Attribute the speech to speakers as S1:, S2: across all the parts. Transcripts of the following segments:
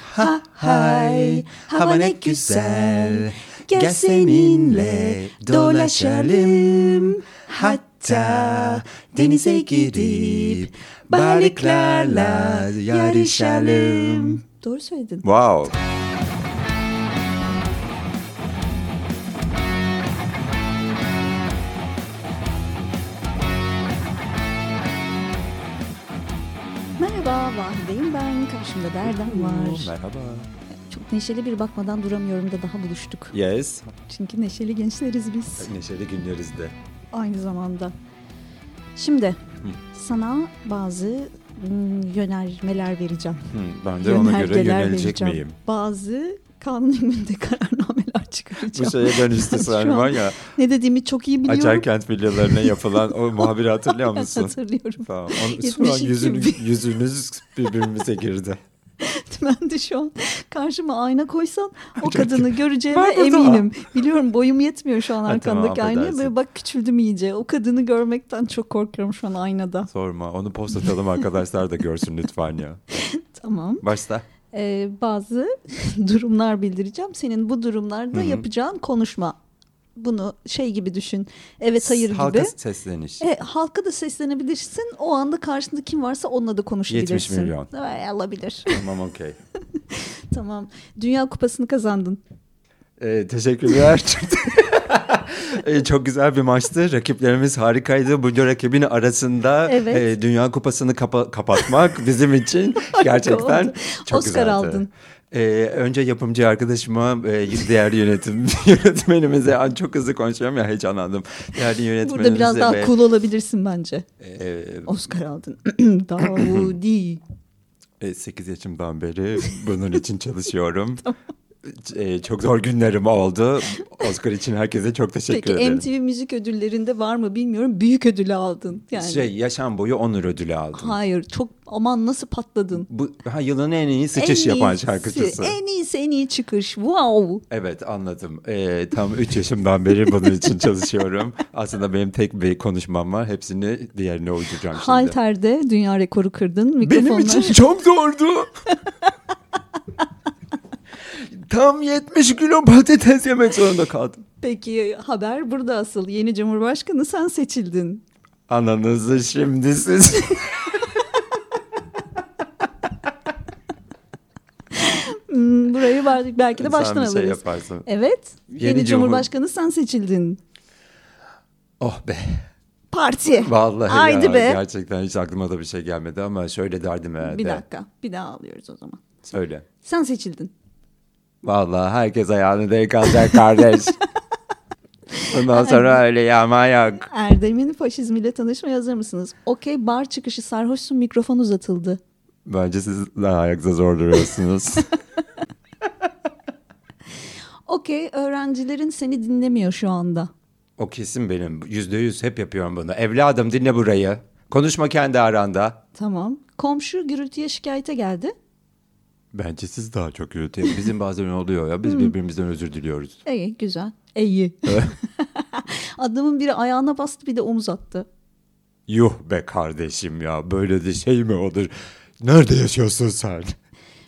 S1: ha hay hava ne güzel Gel seninle dolaşalım Hatta denize gidip balıklarla yarışalım
S2: Doğru söyledin.
S3: Wow.
S2: Merhaba Vahideyim ben. Karşımda Berdan var.
S3: Merhaba.
S2: Çok neşeli bir bakmadan duramıyorum da daha buluştuk.
S3: Yes.
S2: Çünkü neşeli gençleriz biz.
S3: Neşeli günleriz de.
S2: aynı zamanda. Şimdi sana bazı mm, yönermeler vereceğim.
S3: Hmm, ben de ona göre
S2: Yönergeler
S3: yönelecek
S2: vereceğim.
S3: miyim?
S2: Bazı kanun hükmünde kararnameler çıkaracağım.
S3: Bu şey- şeye dönüştü
S2: Şu an
S3: sen var ya.
S2: Ne dediğimi çok iyi biliyorum.
S3: Açarkent villalarına yapılan o muhabiri hatırlıyor musun?
S2: Hatırlıyorum.
S3: Tamam. Onun, şu an
S2: 72
S3: yüzünü,
S2: bin.
S3: yüzünüz birbirimize girdi.
S2: Ben de şu an karşıma ayna koysan o
S3: Çok-
S2: kadını göreceğime
S3: Var burada.
S2: eminim. Biliyorum boyum yetmiyor şu an
S3: Ha, tamam,
S2: arkandaki aynaya.
S3: affedersin.
S2: Böyle bak küçüldüm iyice. O kadını görmekten çok korkuyorum şu an aynada.
S3: Sorma. Onu post atalım arkadaşlar da görsün lütfen ya.
S2: Tamam.
S3: Başla.
S2: Ee, bazı durumlar bildireceğim. Senin bu durumlarda
S3: Hı hı.
S2: yapacağın konuşma. Bunu şey gibi düşün. Evet hayır
S3: Halka
S2: gibi.
S3: sesleniş.
S2: E, halka da seslenebilirsin. O anda karşında kim varsa onunla da konuşabilirsin.
S3: 70 milyon.
S2: Evet, alabilir.
S3: Tamam okey.
S2: tamam. Dünya kupasını kazandın.
S3: Ee, teşekkürler. Ee, çok güzel bir maçtı. Rakiplerimiz harikaydı. Bunca rakibin arasında
S2: Evet.
S3: e, Dünya Kupası'nı kapa- kapatmak bizim için gerçekten
S2: oldu.
S3: çok
S2: Oscar
S3: güzeldi.
S2: aldın.
S3: Ee, önce yapımcı arkadaşıma, e, değerli yönetim yönetmenimize, Ay, çok hızlı konuşuyorum ya heyecanlandım. Değerli yönetmenimize
S2: Burada biraz daha
S3: ve,
S2: cool olabilirsin bence.
S3: e,
S2: Oscar aldın. Davudi.
S3: E, 8 yaşımdan beri bunun için çalışıyorum. E, çok zor günlerim oldu. Oscar için herkese çok teşekkür
S2: Peki
S3: ederim.
S2: MTV müzik ödüllerinde var mı bilmiyorum. Büyük ödülü aldın. Yani.
S3: Şey, yaşam boyu onur ödülü aldım.
S2: Hayır çok aman nasıl patladın.
S3: Bu ha, yılın en iyi sıçış
S2: En
S3: yapan
S2: iyisi,
S3: şarkıcısı.
S2: En iyisi en iyi çıkış. Wow.
S3: Evet anladım. E, tam 3 yaşımdan beri bunun için çalışıyorum. Aslında benim tek bir konuşmam var. Hepsini diğerine uyduracağım şimdi.
S2: Halter'de dünya rekoru kırdın.
S3: Benim
S2: Mikrofonlar.
S3: için çok zordu. tam 70 kilo patates yemek zorunda kaldım.
S2: Peki haber burada asıl. Yeni Cumhurbaşkanı sen seçildin.
S3: Ananızı şimdi siz.
S2: Hmm, burayı bel- belki de baştan
S3: Sen bir şey
S2: alırız.
S3: yaparsın.
S2: evet. Yeni,
S3: Yeni Cumhur-
S2: Cumhurbaşkanı sen seçildin.
S3: Oh be.
S2: Parti.
S3: Vallahi
S2: Haydi
S3: ya,
S2: be.
S3: gerçekten hiç aklıma da bir şey gelmedi ama şöyle derdim herhalde.
S2: Bir dakika. Bir daha alıyoruz o zaman.
S3: Söyle.
S2: Sen seçildin.
S3: Vallahi herkes ayağını denk alacak kardeş. Ondan sonra öyle yağma yok.
S2: Erdem'in faşizmiyle tanışmaya hazır mısınız? Okey bar çıkışı sarhoşsun mikrofon uzatıldı.
S3: Bence siz daha ayakta zor duruyorsunuz.
S2: Okey öğrencilerin seni dinlemiyor şu anda.
S3: o kesin benim. Yüzde yüz hep yapıyorum bunu. Evladım dinle burayı. Konuşma kendi aranda.
S2: Tamam. Komşu gürültüye şikayete geldi.
S3: Bence siz daha çok yürütün. Bizim bazen oluyor ya.
S2: Hmm.
S3: Biz birbirimizden özür diliyoruz.
S2: İyi güzel. İyi. Adamın biri ayağına bastı bir de omuz attı.
S3: Yuh be kardeşim ya. Böyle de şey mi olur? Nerede yaşıyorsun sen?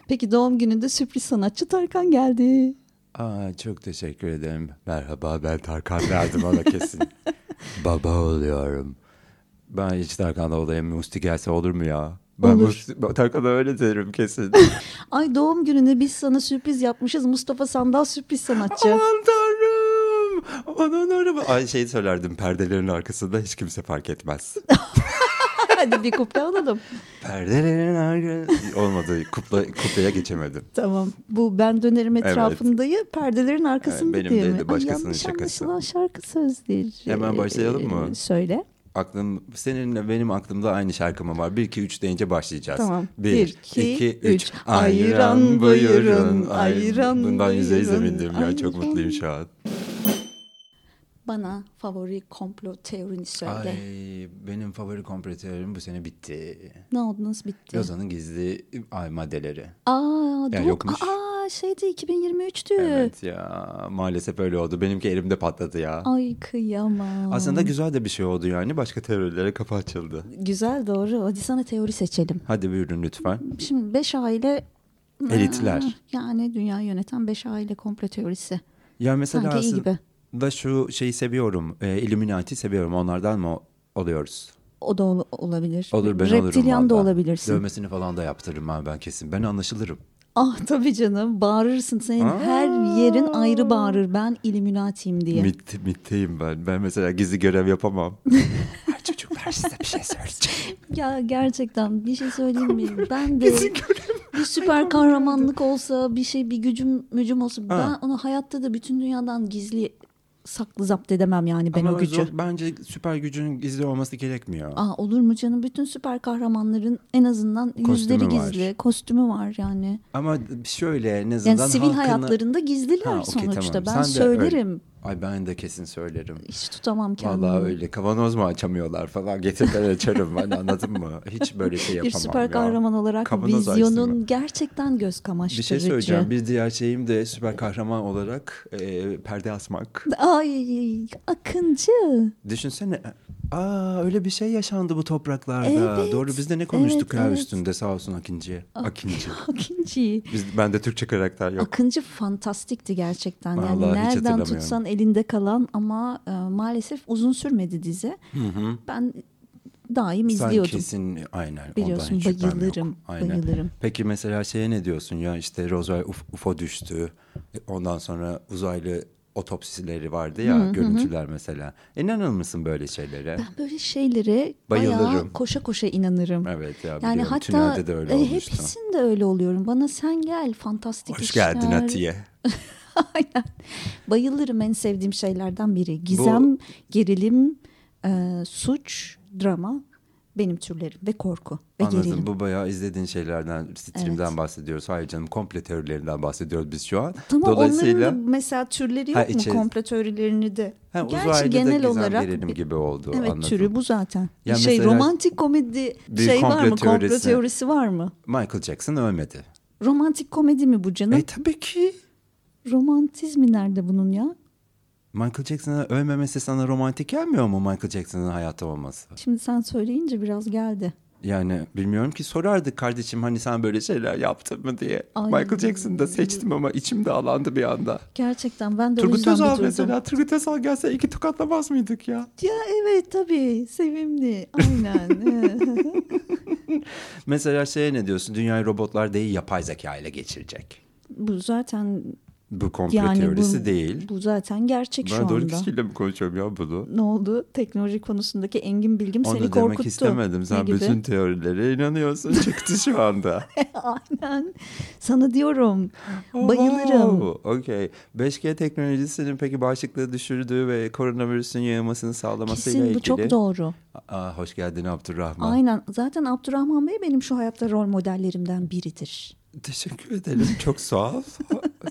S2: Peki doğum gününde sürpriz sanatçı Tarkan geldi.
S3: Aa, çok teşekkür ederim. Merhaba ben Tarkan derdim ona kesin. Baba oluyorum. Ben hiç Tarkan'la olayım. Musti gelse olur mu ya? Ben
S2: Olur.
S3: Musti- ben Tarkan'a öyle derim kesin.
S2: Ay doğum gününe biz sana sürpriz yapmışız. Mustafa Sandal sürpriz sanatçı.
S3: Aman tanrım. Aman tanrım. Ay şey söylerdim perdelerin arkasında hiç kimse fark etmez.
S2: Hadi bir kupla alalım.
S3: perdelerin arkasında. Olmadı. Kupla, kuplaya geçemedim.
S2: Tamam. Bu ben dönerim
S3: Evet.
S2: etrafındayı perdelerin arkasında
S3: Evet, benim
S2: diye
S3: değil
S2: mi?
S3: de
S2: Ay,
S3: başkasının
S2: yanlış
S3: şakası.
S2: anlaşılan şarkı sözleri. e,
S3: Hemen başlayalım mı?
S2: Söyle.
S3: Aklım seninle benim aklımda aynı şarkı mı var? 1 2 3 deyince başlayacağız.
S2: Tamam.
S3: 1
S2: iki,
S3: 2
S2: üç.
S3: 3
S2: Ayran buyurun, ayran
S3: Bundan yüze yüze
S2: buyurun,
S3: bindim ya. Çok
S2: ayran.
S3: mutluyum şu an.
S2: Bana favori komplo teorini söyle.
S3: Ay benim favori kompletörüm bu sene bitti.
S2: Ne oldunuz bitti.
S3: Lozan'ın gizli ay maddeleri.
S2: Aa,
S3: Ya
S2: doğum-
S3: yokmuş.
S2: Aa, şeydi 2023'tü.
S3: Evet ya maalesef öyle oldu. Benimki elimde patladı ya.
S2: Ay kıyamam.
S3: Aslında güzel de bir şey oldu yani. Başka teorilere kafa açıldı.
S2: Güzel doğru. Hadi sana teori seçelim.
S3: Hadi buyurun lütfen.
S2: Şimdi beş aile
S3: Elitler.
S2: Yani dünya yöneten beş aile komplo teorisi.
S3: Ya mesela
S2: Sanki iyi gibi.
S3: aslında şu şeyi seviyorum. E, Illuminati seviyorum. Onlardan mı oluyoruz?
S2: O da ol- olabilir.
S3: Olur ben olurum.
S2: Reptilyan da
S3: valla.
S2: olabilirsin.
S3: Dövmesini falan da yaptırırım abi ben kesin. Ben anlaşılırım.
S2: Ah tabii canım bağırırsın senin
S3: Aa.
S2: her yerin ayrı bağırır ben illuminatiyim diye.
S3: Mit, mitteyim ben. Ben mesela gizli görev yapamam. Ay çocuklar size bir şey söyleyeceğim.
S2: Ya gerçekten bir şey söyleyeyim mi? Ben de bir süper kahramanlık olsa bir şey bir gücüm mücüm olsa
S3: Ha.
S2: ben onu hayatta da bütün dünyadan gizli saklı zapt edemem yani ben
S3: Ama
S2: o gücü.
S3: zor- bence süper gücün gizli olması gerekmiyor.
S2: Aa, Ah, olur mu canım? Bütün süper kahramanların en azından yüzleri
S3: Kostümü var.
S2: gizli, kostümü var yani.
S3: Ama şöyle en azından
S2: Yani sivil
S3: halkını-
S2: hayatlarında gizliler
S3: Ha, okey,
S2: sonuçta.
S3: tamam.
S2: Ben
S3: Sen de
S2: söylerim.
S3: Ay ben de kesin söylerim.
S2: Hiç tutamam kendimi.
S3: Vallahi öyle kavanoz mu açamıyorlar falan getirdiler açarım ben anladın mı? Hiç böyle şey
S2: Bir
S3: yapamam
S2: süper
S3: ya.
S2: kahraman olarak
S3: Kavanoz açtı mı?
S2: vizyonun gerçekten göz
S3: Bir
S2: kamaştırıcı.
S3: şey söyleyeceğim. Bir diğer şeyim de süper kahraman olarak e, perde asmak.
S2: Ay Akıncı.
S3: Düşünsene. Aa öyle bir şey yaşandı bu topraklarda.
S2: Evet,
S3: Doğru biz de ne konuştuk
S2: evet, Ah.
S3: ya
S2: evet.
S3: üstünde sağ olsun Akinci. Akinci.
S2: Akıncı.
S3: Biz, bende Türkçe karakter yok.
S2: Akıncı fantastikti gerçekten.
S3: Vallahi hiç
S2: yani nereden
S3: hatırlamıyorum.
S2: tutsan elinde kalan ama e, maalesef uzun sürmedi dizi. Ben daim
S3: Sen
S2: Ah, izliyordum.
S3: kesin aynen.
S2: Biliyorsun,
S3: ondan hiç şüphem yok.
S2: bayılırım, bayılırım.
S3: Peki mesela şeye ne diyorsun ya işte Roswell Uf- UFO düştü. E, Ondan sonra uzaylı otopsileri vardı ya görüntüler mesela. İnanır mısın böyle şeylere?
S2: Ben böyle şeylere
S3: Bayılırım.
S2: bayağı koşa koşa inanırım.
S3: Evet ya
S2: Yani
S3: biliyorum.
S2: hatta
S3: Tünelde de öyle
S2: e,
S3: olmuştu.
S2: hepsinde öyle oluyorum. Bana sen gel fantastik
S3: Hoş
S2: işler.
S3: geldin Atiye.
S2: Aynen. Bayılırım en sevdiğim şeylerden biri. Gizem, gerilim, e, suç, drama benim türlerim ve korku ve
S3: Anladım.
S2: gerilim.
S3: Bu bayağı izlediğin şeylerden, stream'den bahsediyoruz. Hayır canım komple teorilerinden bahsediyoruz biz şu an.
S2: Tamam
S3: Dolayısıyla
S2: onların da mesela türleri yok
S3: Ha,
S2: mu
S3: içe-
S2: komplo teorilerini de?
S3: ha, uzaylı
S2: Gerçi
S3: da
S2: genel
S3: gizem
S2: olarak
S3: gerilim gibi oldu.
S2: Evet
S3: anladım.
S2: türü bu zaten.
S3: Ya
S2: şey
S3: mesela-
S2: romantik komedi
S3: Bir
S2: şey var
S3: komplo
S2: mı? Komplo
S3: teorisi.
S2: teorisi var mı?
S3: Michael Jackson ölmedi.
S2: Romantik komedi mi bu canım?
S3: E tabii ki.
S2: Romantizmi nerede bunun ya?
S3: Michael Jackson'ın ölmemesi sana romantik gelmiyor mu Michael Jackson'ın hayatta olması?
S2: Şimdi sen söyleyince biraz geldi.
S3: Yani bilmiyorum ki sorardık kardeşim hani sen böyle şeyler yaptın mı diye.
S2: Ay.
S3: Michael Jackson'ı da seçtim ama içim de alandı bir anda.
S2: Gerçekten ben de o
S3: Turgut
S2: yüzden bir
S3: Özal
S2: durdum.
S3: mesela. Turgut Özal gelse iki tokatlamaz mıydık ya?
S2: Ya evet tabii sevimli aynen.
S3: Mesela şeye ne diyorsun? Dünyayı robotlar değil yapay zeka ile geçirecek.
S2: bu zaten
S3: Bu komplo
S2: yani
S3: teorisi
S2: bu,
S3: değil.
S2: Bu zaten gerçek şu
S3: ben doğru
S2: anda.
S3: kişiyle mi konuşuyorum ya bunu?
S2: Ne oldu? Teknoloji konusundaki engin bilgim
S3: Onu
S2: seni
S3: demek
S2: korkuttu.
S3: istemedim. Sen
S2: Ne gibi?
S3: bütün teorilere inanıyorsun. Çıktı şu anda.
S2: aynen. Sana diyorum. Bayılırım.
S3: Wow, Okey. 5G teknolojisinin peki bağışıklığı düşürdüğü ve koronavirüsün yayılmasını sağlamasıyla
S2: Kesin
S3: ilgili.
S2: bu çok doğru.
S3: Aa, hoş geldin Abdurrahman.
S2: Aynen. Zaten Abdurrahman Bey benim şu hayatta rol modellerimden biridir.
S3: Teşekkür ederim. Çok sağ ol.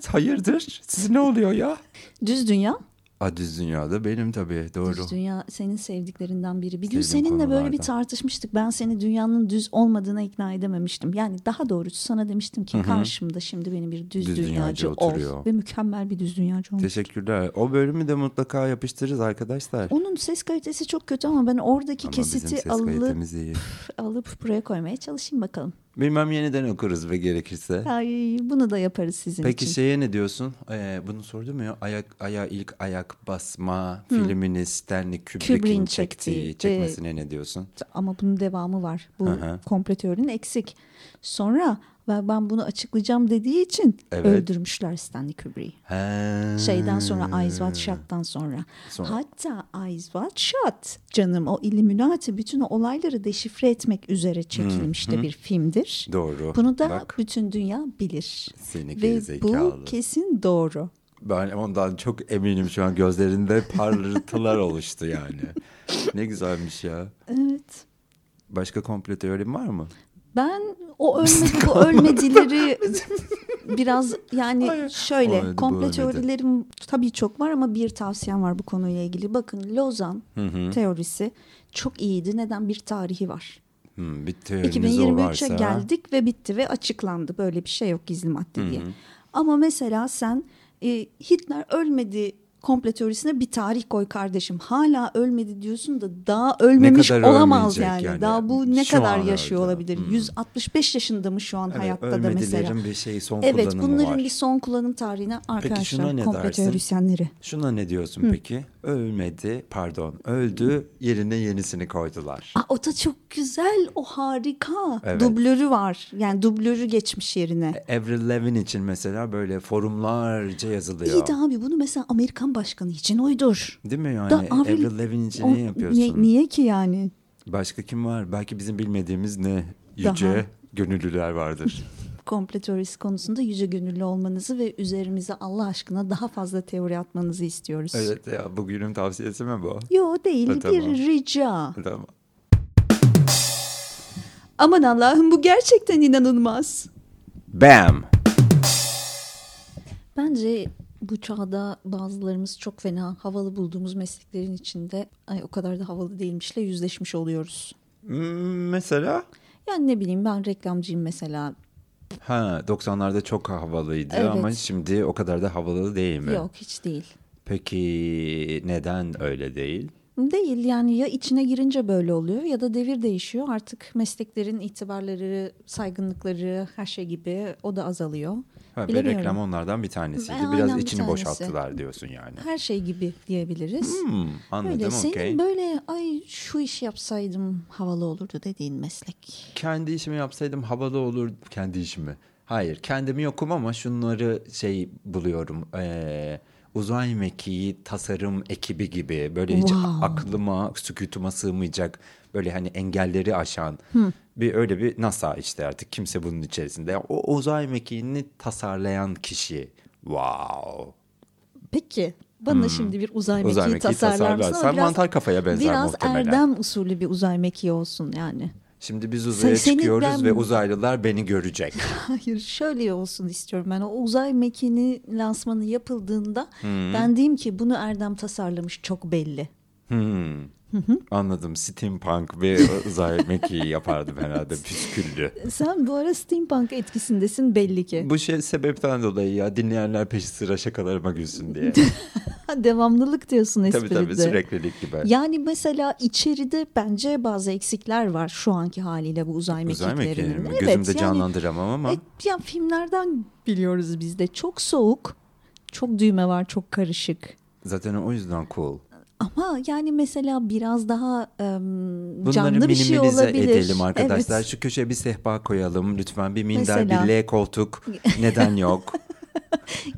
S3: Hayırdır? Size ne oluyor ya?
S2: Düz dünya.
S3: Aa, düz dünyada benim tabii. Doğru.
S2: Düz dünya senin sevdiklerinden biri. Bir gün
S3: Sevdiğim
S2: seninle böyle bir
S3: konulardan.
S2: tartışmıştık. Ben seni dünyanın düz olmadığına ikna edememiştim. Yani daha doğrusu sana demiştim ki karşımda şimdi benim bir düz,
S3: Düz dünyacı
S2: dünyacı, ol.
S3: oturuyor.
S2: Ve mükemmel bir düz dünyacı olmuş.
S3: Teşekkürler. O bölümü de mutlaka yapıştırırız arkadaşlar.
S2: Onun ses kalitesi çok kötü ama ben oradaki
S3: Ama bizim ses
S2: kesiti alıp,
S3: kalitemiz iyi.
S2: alıp buraya koymaya çalışayım bakalım.
S3: Bilmem yeniden okuruz ve gerekirse.
S2: Ay, bunu da yaparız sizin
S3: Peki şey-
S2: için.
S3: şeye ne diyorsun? Ee, bunu sordum ya ayak aya ilk ayak basma filmini Stanley Kubrick'in
S2: Kubrick'in
S3: çektiği
S2: çektiği,
S3: çekmesine ne diyorsun?
S2: Ama bunun devamı var. Bu
S3: Hı hı.
S2: komplo teorinin eksik. Sonra ben ben bunu açıklayacağım dediği için
S3: Evet.
S2: öldürmüşler Stanley Kubrick'i.
S3: He.
S2: Şeyden sonra Eyes Wide Shut'tan sonra.
S3: Hmm. Sonra.
S2: Hatta Eyes Wide Shut canım o Illuminati bütün o olayları deşifre etmek üzere çekilmiş de bir filmdir.
S3: Hmm. Doğru.
S2: Bunu da
S3: Bak,
S2: bütün dünya bilir.
S3: Seni
S2: Ve
S3: gerizekalı.
S2: bu kesin doğru.
S3: ben ondan çok eminim şu an gözlerinde parıltılar oluştu yani. Ne güzelmiş ya.
S2: Evet.
S3: Başka komplo teorin var mı?
S2: Ben o ölmedi bu ölmedileri biraz yani
S3: Hayır.
S2: şöyle
S3: Olmadı, bu
S2: komple
S3: ölmedi.
S2: teorilerim tabii çok var ama bir tavsiyem var bu konuyla ilgili. Bakın Lozan teorisi çok iyiydi. Neden? Bir tarihi var.
S3: Hmm, bir teoriniz o
S2: 2023'e
S3: varsa.
S2: geldik ve bitti ve açıklandı. Böyle bir şey yok gizli madde diye. Ama mesela sen e, Hitler ölmedi komple teorisine bir tarih koy kardeşim. Hala ölmedi diyorsun da daha ölmemiş olamaz
S3: ölmeyecek
S2: yani.
S3: yani?
S2: Daha bu ne
S3: Şu
S2: kadar
S3: an
S2: yaşıyor
S3: öldü.
S2: olabilir?
S3: Hmm.
S2: 165 yaşında mı şu an hayatta da mesela?
S3: Hani bir şey son
S2: Evet
S3: kullanımı
S2: bunların
S3: var.
S2: bir son kullanım tarihine
S3: şuna
S2: arkadaşlar
S3: ne
S2: komple
S3: dersin?
S2: teorisyenleri.
S3: Şuna ne diyorsun peki? Ölmedi, pardon, öldü, yerine yenisini koydular.
S2: Aa, o da çok güzel, o harika.
S3: Evet. E,
S2: Dublörü var. Yani dublörü geçmiş yerine.
S3: Avril Levin için mesela böyle forumlarca yazılıyor.
S2: İyi de abi bunu mesela Amerikan başkanı için uydur.
S3: Değil mi yani?
S2: Da
S3: Avril,
S2: Avril-
S3: Lavigne için
S2: O-
S3: ne yapıyorsun?
S2: ni- niye ki yani?
S3: Başka kim var? Belki bizim bilmediğimiz ne yüce
S2: Daha.
S3: gönüllüler vardır.
S2: Komple teorisi konusunda yüce gönüllü olmanızı ve üzerimize Allah aşkına daha fazla teori atmanızı istiyoruz.
S3: evet ya bugünün tavsiyesi mi bu?
S2: Yo değil
S3: Ha,
S2: bir
S3: tamam.
S2: rica.
S3: Tamam.
S2: Aman Allah'ım bu gerçekten inanılmaz.
S3: Bam!
S2: Bence bu çağda bazılarımız çok fena havalı bulduğumuz mesleklerin içinde ay o kadar da havalı değilmişle yüzleşmiş oluyoruz.
S3: Hmm, Mesela?
S2: Yani ne bileyim ben reklamcıyım mesela.
S3: Ha 90'larda çok havalıydı
S2: Evet.
S3: ama şimdi o kadar da havalı değil mi?
S2: Yok hiç değil.
S3: Peki neden öyle değil?
S2: Değil yani ya içine girince böyle oluyor ya da devir değişiyor. Artık mesleklerin itibarları, saygınlıkları her şey gibi o da azalıyor.
S3: Ha, bir
S2: Bilemiyorum.
S3: reklam onlardan bir tanesiydi.
S2: Aynen
S3: Biraz
S2: bir
S3: içini
S2: tanesi.
S3: boşalttılar diyorsun yani.
S2: Her şey gibi diyebiliriz.
S3: Hmm,
S2: Öyle
S3: anladım
S2: senin
S3: okey.
S2: böyle ay şu işi yapsaydım havalı olurdu dediğin meslek.
S3: Kendi işimi yapsaydım havalı olur. Kendi işimi. Hayır kendimi yokum ama şunları şey buluyorum. Ee, uzay mekiği tasarım ekibi gibi. Böyle hiç
S2: Wow.
S3: aklıma sükutuma sığmayacak. Böyle hani engelleri aşan. Bir öyle bir NASA işte artık kimse bunun içerisinde. O uzay mekiğini tasarlayan kişi. Wow.
S2: Peki bana şimdi bir uzay mekiği,
S3: Hmm. Uzay mekiği
S2: tasarlar mısın?
S3: tasarlarsan
S2: Ama biraz-
S3: mantar kafaya benzer
S2: Biraz
S3: muhtemelen.
S2: erdem usulü bir uzay mekiği olsun yani.
S3: Şimdi biz uzaya
S2: Sen- seni
S3: çıkıyoruz
S2: ben-
S3: ve uzaylılar beni görecek.
S2: Hayır şöyle olsun istiyorum ben o uzay mekiğini lansmanı yapıldığında ben diyeyim ki bunu Erdem tasarlamış çok belli.
S3: Hmm. Anladım. Steampunk ve uzay mekiği yapardım herhalde püsküllü.
S2: Sen bu ara steampunk etkisindesin belli ki.
S3: Bu şey sebepten dolayı ya dinleyenler peşi sıra şakalarıma gülsün diye.
S2: Devamlılık diyorsun
S3: tabii
S2: espride.
S3: tabii süreklilik gibi.
S2: Yani mesela içeride bence bazı eksikler var şu anki haliyle bu uzay
S3: uzay
S2: mekiklerinin.
S3: mekiğini mi?
S2: Evet,
S3: Gözümde
S2: yani-
S3: canlandıramam ama.
S2: E, ya filmlerden biliyoruz biz de çok soğuk, çok düğme var, çok karışık.
S3: Zaten o yüzden cool.
S2: Ama yani mesela biraz daha em,
S3: Bunları
S2: canlı bir şey
S3: minimalize
S2: olabilir.
S3: edelim arkadaşlar.
S2: Evet.
S3: Şu köşeye bir sehpa koyalım. Lütfen bir minder,
S2: Mesela.
S3: bir L koltuk. Neden yok?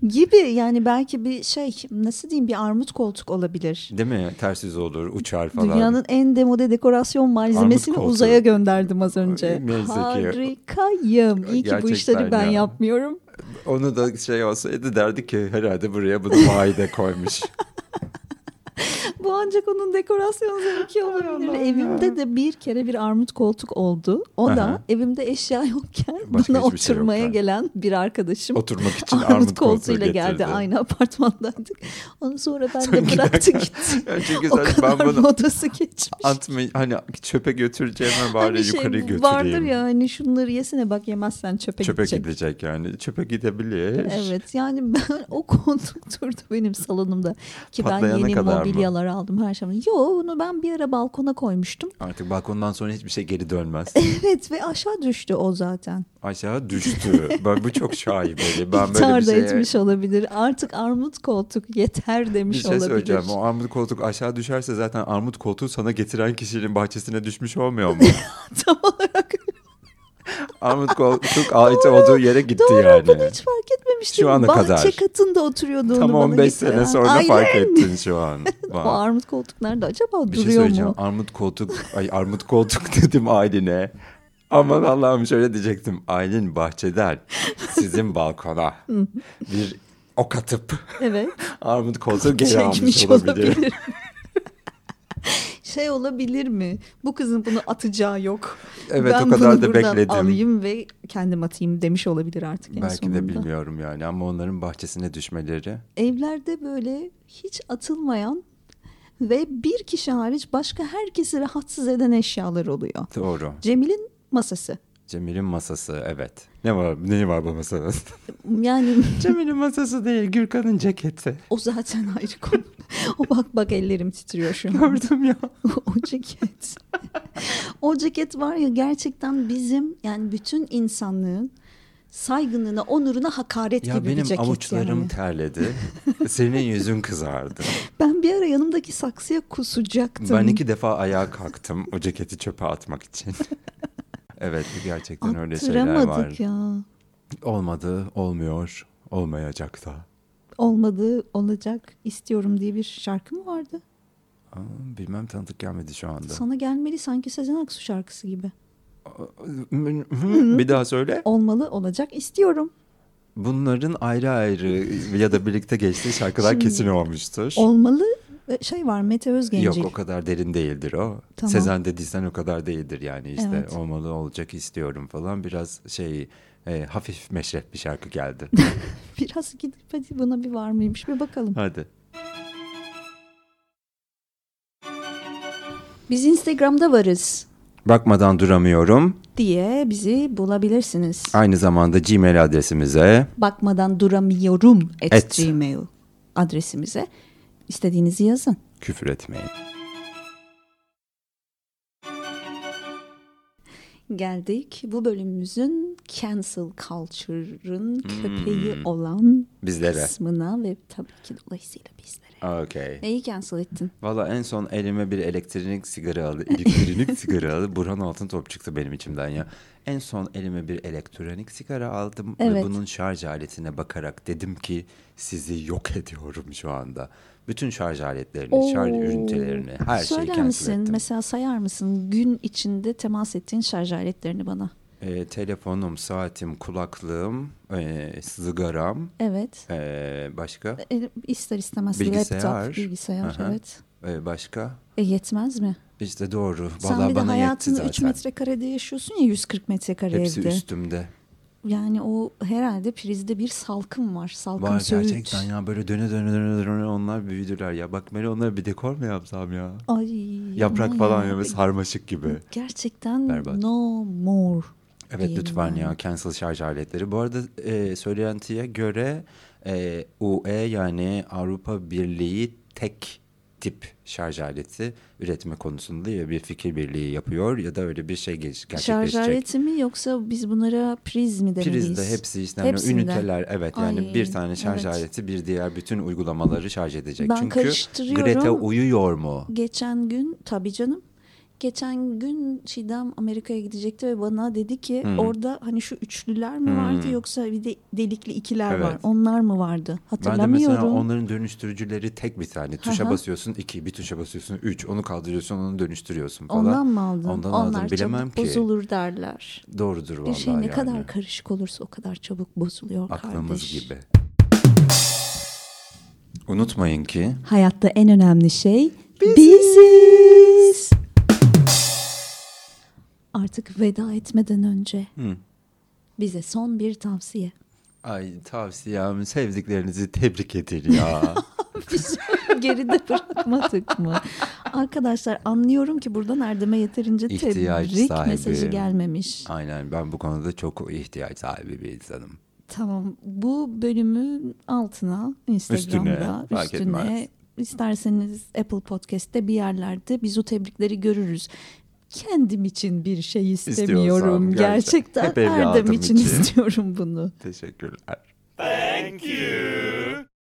S2: Gibi yani belki bir şey nasıl diyeyim bir armut koltuk olabilir.
S3: Değil mi? Ters yüz olur, uçar falan.
S2: Dünyanın en demode dekorasyon malzemesini
S3: koltuğu.
S2: uzaya gönderdim az önce.
S3: Neyse ki.
S2: Harikayım. İyi ki bu
S3: Gerçekten
S2: işleri ben
S3: ya.
S2: yapmıyorum.
S3: Onu da şey olsaydı derdi ki herhalde buraya bunu maide koymuş.
S2: Bu ancak onun dekorasyon zevki olabilir. Evimde de bir kere bir armut koltuk oldu. O
S3: Aha.
S2: da evimde eşya yokken
S3: Başka
S2: bana
S3: hiçbir şey
S2: oturmaya
S3: yokken.
S2: gelen bir arkadaşım
S3: Oturmak için
S2: armut,
S3: armut
S2: koltuğuyla geldi.
S3: koltuğu getirdi.
S2: Aynı apartmandaydık. Onu sonra ben
S3: Son
S2: de
S3: iki
S2: bıraktı
S3: dakika.
S2: gitti.
S3: Yani Çünkü
S2: o
S3: zaten ben
S2: kadar
S3: bunu
S2: modası geçmiş.
S3: atma hani çöpe götüreceğime bari
S2: Hani şey
S3: yukarı götüreyim.
S2: vardır ya hani şunları yesene bak yemezsen çöpe,
S3: Çöpe
S2: gidecek.
S3: gidecek yani. Çöpe gidebilir.
S2: Evet yani ben o koltuk durdu benim salonumda ki
S3: Patlayana
S2: ben yeni
S3: kadar mı?
S2: mobilyalar aldım her şey. Yo onu ben bir ara balkona koymuştum.
S3: Artık balkondan sonra hiçbir şey geri dönmez.
S2: Evet ve aşağı düştü o zaten.
S3: Aşağı düştü. Ben bu çok şaibeli. Ben böyle
S2: İntihar
S3: bir
S2: da
S3: şey...
S2: etmiş olabilir. Artık armut koltuk yeter
S3: Bir
S2: demiş
S3: şey
S2: olabilir.
S3: söyleyeceğim. O armut koltuk aşağı düşerse zaten armut koltuğu sana getiren kişinin bahçesine düşmüş olmuyor mu?
S2: Tam olarak
S3: armut koltuk ait olduğu yere gitti
S2: doğru
S3: yani.
S2: bunu hiç fark etmemiştim.
S3: Şu ana
S2: Bahçe
S3: kadar.
S2: katında oturuyordu
S3: Tam
S2: onu bana
S3: 15
S2: getiren.
S3: sene sonra
S2: Aynen.
S3: fark ettin şu an.
S2: O
S3: Vay.
S2: armut koltuk nerede acaba
S3: Bir şey
S2: duruyor
S3: söyleyeceğim.
S2: mu?
S3: Armut koltuk, ay armut koltuk dedim Aylin'e. Aman Allah'ım şöyle diyecektim. Aylin bahçeden sizin balkona bir ok atıp
S2: Evet.
S3: armut koltuğu geri almış
S2: Çekmiş
S3: olabilir.
S2: olabilir. şey olabilir mi? Bu kızın bunu atacağı yok.
S3: Evet,
S2: ben
S3: o kadar
S2: bunu
S3: da
S2: buradan
S3: bekledim.
S2: alayım ve kendim atayım demiş olabilir artık en
S3: Belki
S2: sonunda.
S3: de bilmiyorum yani ama onların bahçesine düşmeleri.
S2: evlerde böyle hiç atılmayan ve bir kişi hariç başka herkesi rahatsız eden eşyalar oluyor.
S3: Doğru.
S2: Cemil'in masası.
S3: Cemil'in masası evet. Ne var ne var bu masada?
S2: Yani
S3: Cemil'in masası değil Gürkan'ın ceketi.
S2: o zaten ayrı konu. o bak bak ellerim titriyor şu an.
S3: Gördüm ya.
S2: o ceket. o ceket var ya gerçekten bizim yani bütün insanlığın saygınlığına, onuruna hakaret
S3: Ya
S2: gibi bir
S3: benim
S2: ceket
S3: avuçlarım
S2: yani.
S3: terledi. Senin yüzün kızardı.
S2: Ben bir ara yanımdaki saksıya kusacaktım.
S3: Ben iki defa ayağa kalktım o ceketi çöpe atmak için. evet gerçekten öyle şeyler var.
S2: Attıramadık ya.
S3: Olmadı, olmuyor, olmayacak da.
S2: Olmadı, olacak, istiyorum diye bir şarkı mı vardı?
S3: Aa, Bilmem tanıdık gelmedi şu anda.
S2: Sana gelmeli sanki Sezen Aksu şarkısı gibi.
S3: Bir daha söyle.
S2: Olmalı, olacak, istiyorum.
S3: Bunların ayrı ayrı ya da birlikte geçtiği şarkılar
S2: Şimdi-
S3: kesin olmuştur.
S2: Olmalı e, şey var Mete Özgencil.
S3: Yok o kadar derin değildir o.
S2: Tamam.
S3: Sezen dediysen o kadar değildir yani işte
S2: Evet.
S3: olmalı olacak istiyorum falan biraz şey e, hafif meşref bir şarkı geldi.
S2: Biraz gidip hadi buna bir var mıymış bir bakalım.
S3: Hadi.
S2: Biz Instagram'da varız
S3: Bakmadan duramıyorum.
S2: diye bizi bulabilirsiniz.
S3: Aynı zamanda Gmail adresimize
S2: Bakmadan duramıyorum at,
S3: Et.
S2: gmail adresimize istediğinizi yazın.
S3: küfür etmeyin.
S2: Geldik bu bölümümüzün cancel culture'ın
S3: Hmm.
S2: köpeği olan
S3: Bizlere.
S2: kısmına ve tabii ki dolayısıyla bizlere.
S3: Okey.
S2: Neyi cancel ettin?
S3: Valla en son elime bir elektronik sigara aldı. Elektronik sigara aldı. Burhan Altın Top çıktı benim içimden ya. En son elime bir elektronik sigara aldım ve
S2: Evet.
S3: bunun şarj aletine bakarak dedim ki sizi yok ediyorum şu anda. Bütün şarj aletlerini, şarj
S2: Oo.
S3: ürüntülerini, her şeyi
S2: Söyler
S3: cancel
S2: misin?
S3: ettim.
S2: Mesela sayar mısın gün içinde temas ettiğin şarj aletlerini bana?
S3: Ee, telefonum, saatim, kulaklığım, ee, sigaram,
S2: Evet.
S3: ee, başka,
S2: E, ister istemez
S3: Bilgisayar.
S2: laptop, bilgisayar
S3: Aha.
S2: evet.
S3: ee, başka.
S2: E, yetmez mi?
S3: İşte doğru.
S2: Sen
S3: Valla
S2: bir de
S3: bana yetti
S2: hayatını 3
S3: zaten.
S2: metrekarede yaşıyorsun ya 140 metrekare
S3: Hepsi
S2: evde.
S3: üstümde.
S2: Yani o herhalde prizde bir salkım var. Salkım
S3: Var
S2: söğüt.
S3: gerçekten ya böyle döne döne döne döne onlar büyüdüler ya. Bak Meli onlara bir dekor mu yapsam ya?
S2: Ay,
S3: Yaprak
S2: aman
S3: falan
S2: ya.
S3: ya böyle sarmaşık gibi.
S2: Gerçekten
S3: Berbat.
S2: no more.
S3: Evet
S2: Değil
S3: lütfen
S2: yani.
S3: ya cancel şarj aletleri. Bu arada e, söylentiye göre e, UE yani Avrupa Birliği tek tip şarj aleti üretme konusunda ya bir fikir birliği yapıyor ya da öyle bir şey geç- gerçekleşecek.
S2: Şarj aleti mi yoksa biz bunlara priz mi demeliyiz?
S3: Prizde hepsi işte hani
S2: Hepsinde.
S3: üniteler evet yani
S2: Ay,
S3: bir tane şarj
S2: evet.
S3: aleti bir diğer bütün uygulamaları şarj edecek.
S2: Ben
S3: Çünkü
S2: karıştırıyorum.
S3: Greta uyuyor mu?
S2: Geçen gün tabii canım. Geçen gün Çiğdem Amerika'ya gidecekti ve bana dedi ki
S3: Hmm.
S2: orada hani şu üçlüler mi vardı yoksa bir de delikli ikiler var.
S3: Evet.
S2: Onlar mı vardı?
S3: Ben de mesela
S2: Hatırlamıyorum.
S3: onların dönüştürücüleri tek bir tane. Tuşa
S2: Aha.
S3: basıyorsun iki, bir tuşa basıyorsun üç. Onu kaldırıyorsun onu dönüştürüyorsun falan.
S2: Ondan mı aldın?
S3: Ondan
S2: Onlar
S3: aldım bilemem
S2: çabuk
S3: ki.
S2: bozulur derler.
S3: Doğrudur
S2: Bir
S3: vallahi
S2: şey ne
S3: yani.
S2: kadar karışık olursa o kadar çabuk bozuluyor
S3: Aklımız
S2: kardeş.
S3: gibi. Unutmayın ki
S2: Hayatta en önemli şey biziz. Artık veda etmeden önce bize son bir tavsiye.
S3: ay tavsiyem sevdiklerinizi tebrik edin ya.
S2: Biz geride bırakmadık mı? Arkadaşlar anlıyorum ki buradan Erdem'e yeterince
S3: İhtiyaç
S2: tebrik
S3: sahibi.
S2: mesajı gelmemiş.
S3: Aynen ben bu konuda çok ihtiyaç sahibi bir insanım.
S2: Tamam bu bölümün altına Instagram'da
S3: Üstüne, fark
S2: üstüne,
S3: etmez.
S2: isterseniz Apple Podcast'te bir yerlerde biz o tebrikleri görürüz. Kendim için bir şey istemiyorum.
S3: gerçekten.
S2: Gerçekten
S3: Hep evladım
S2: Erdem için
S3: için.
S2: istiyorum bunu.
S3: Teşekkürler.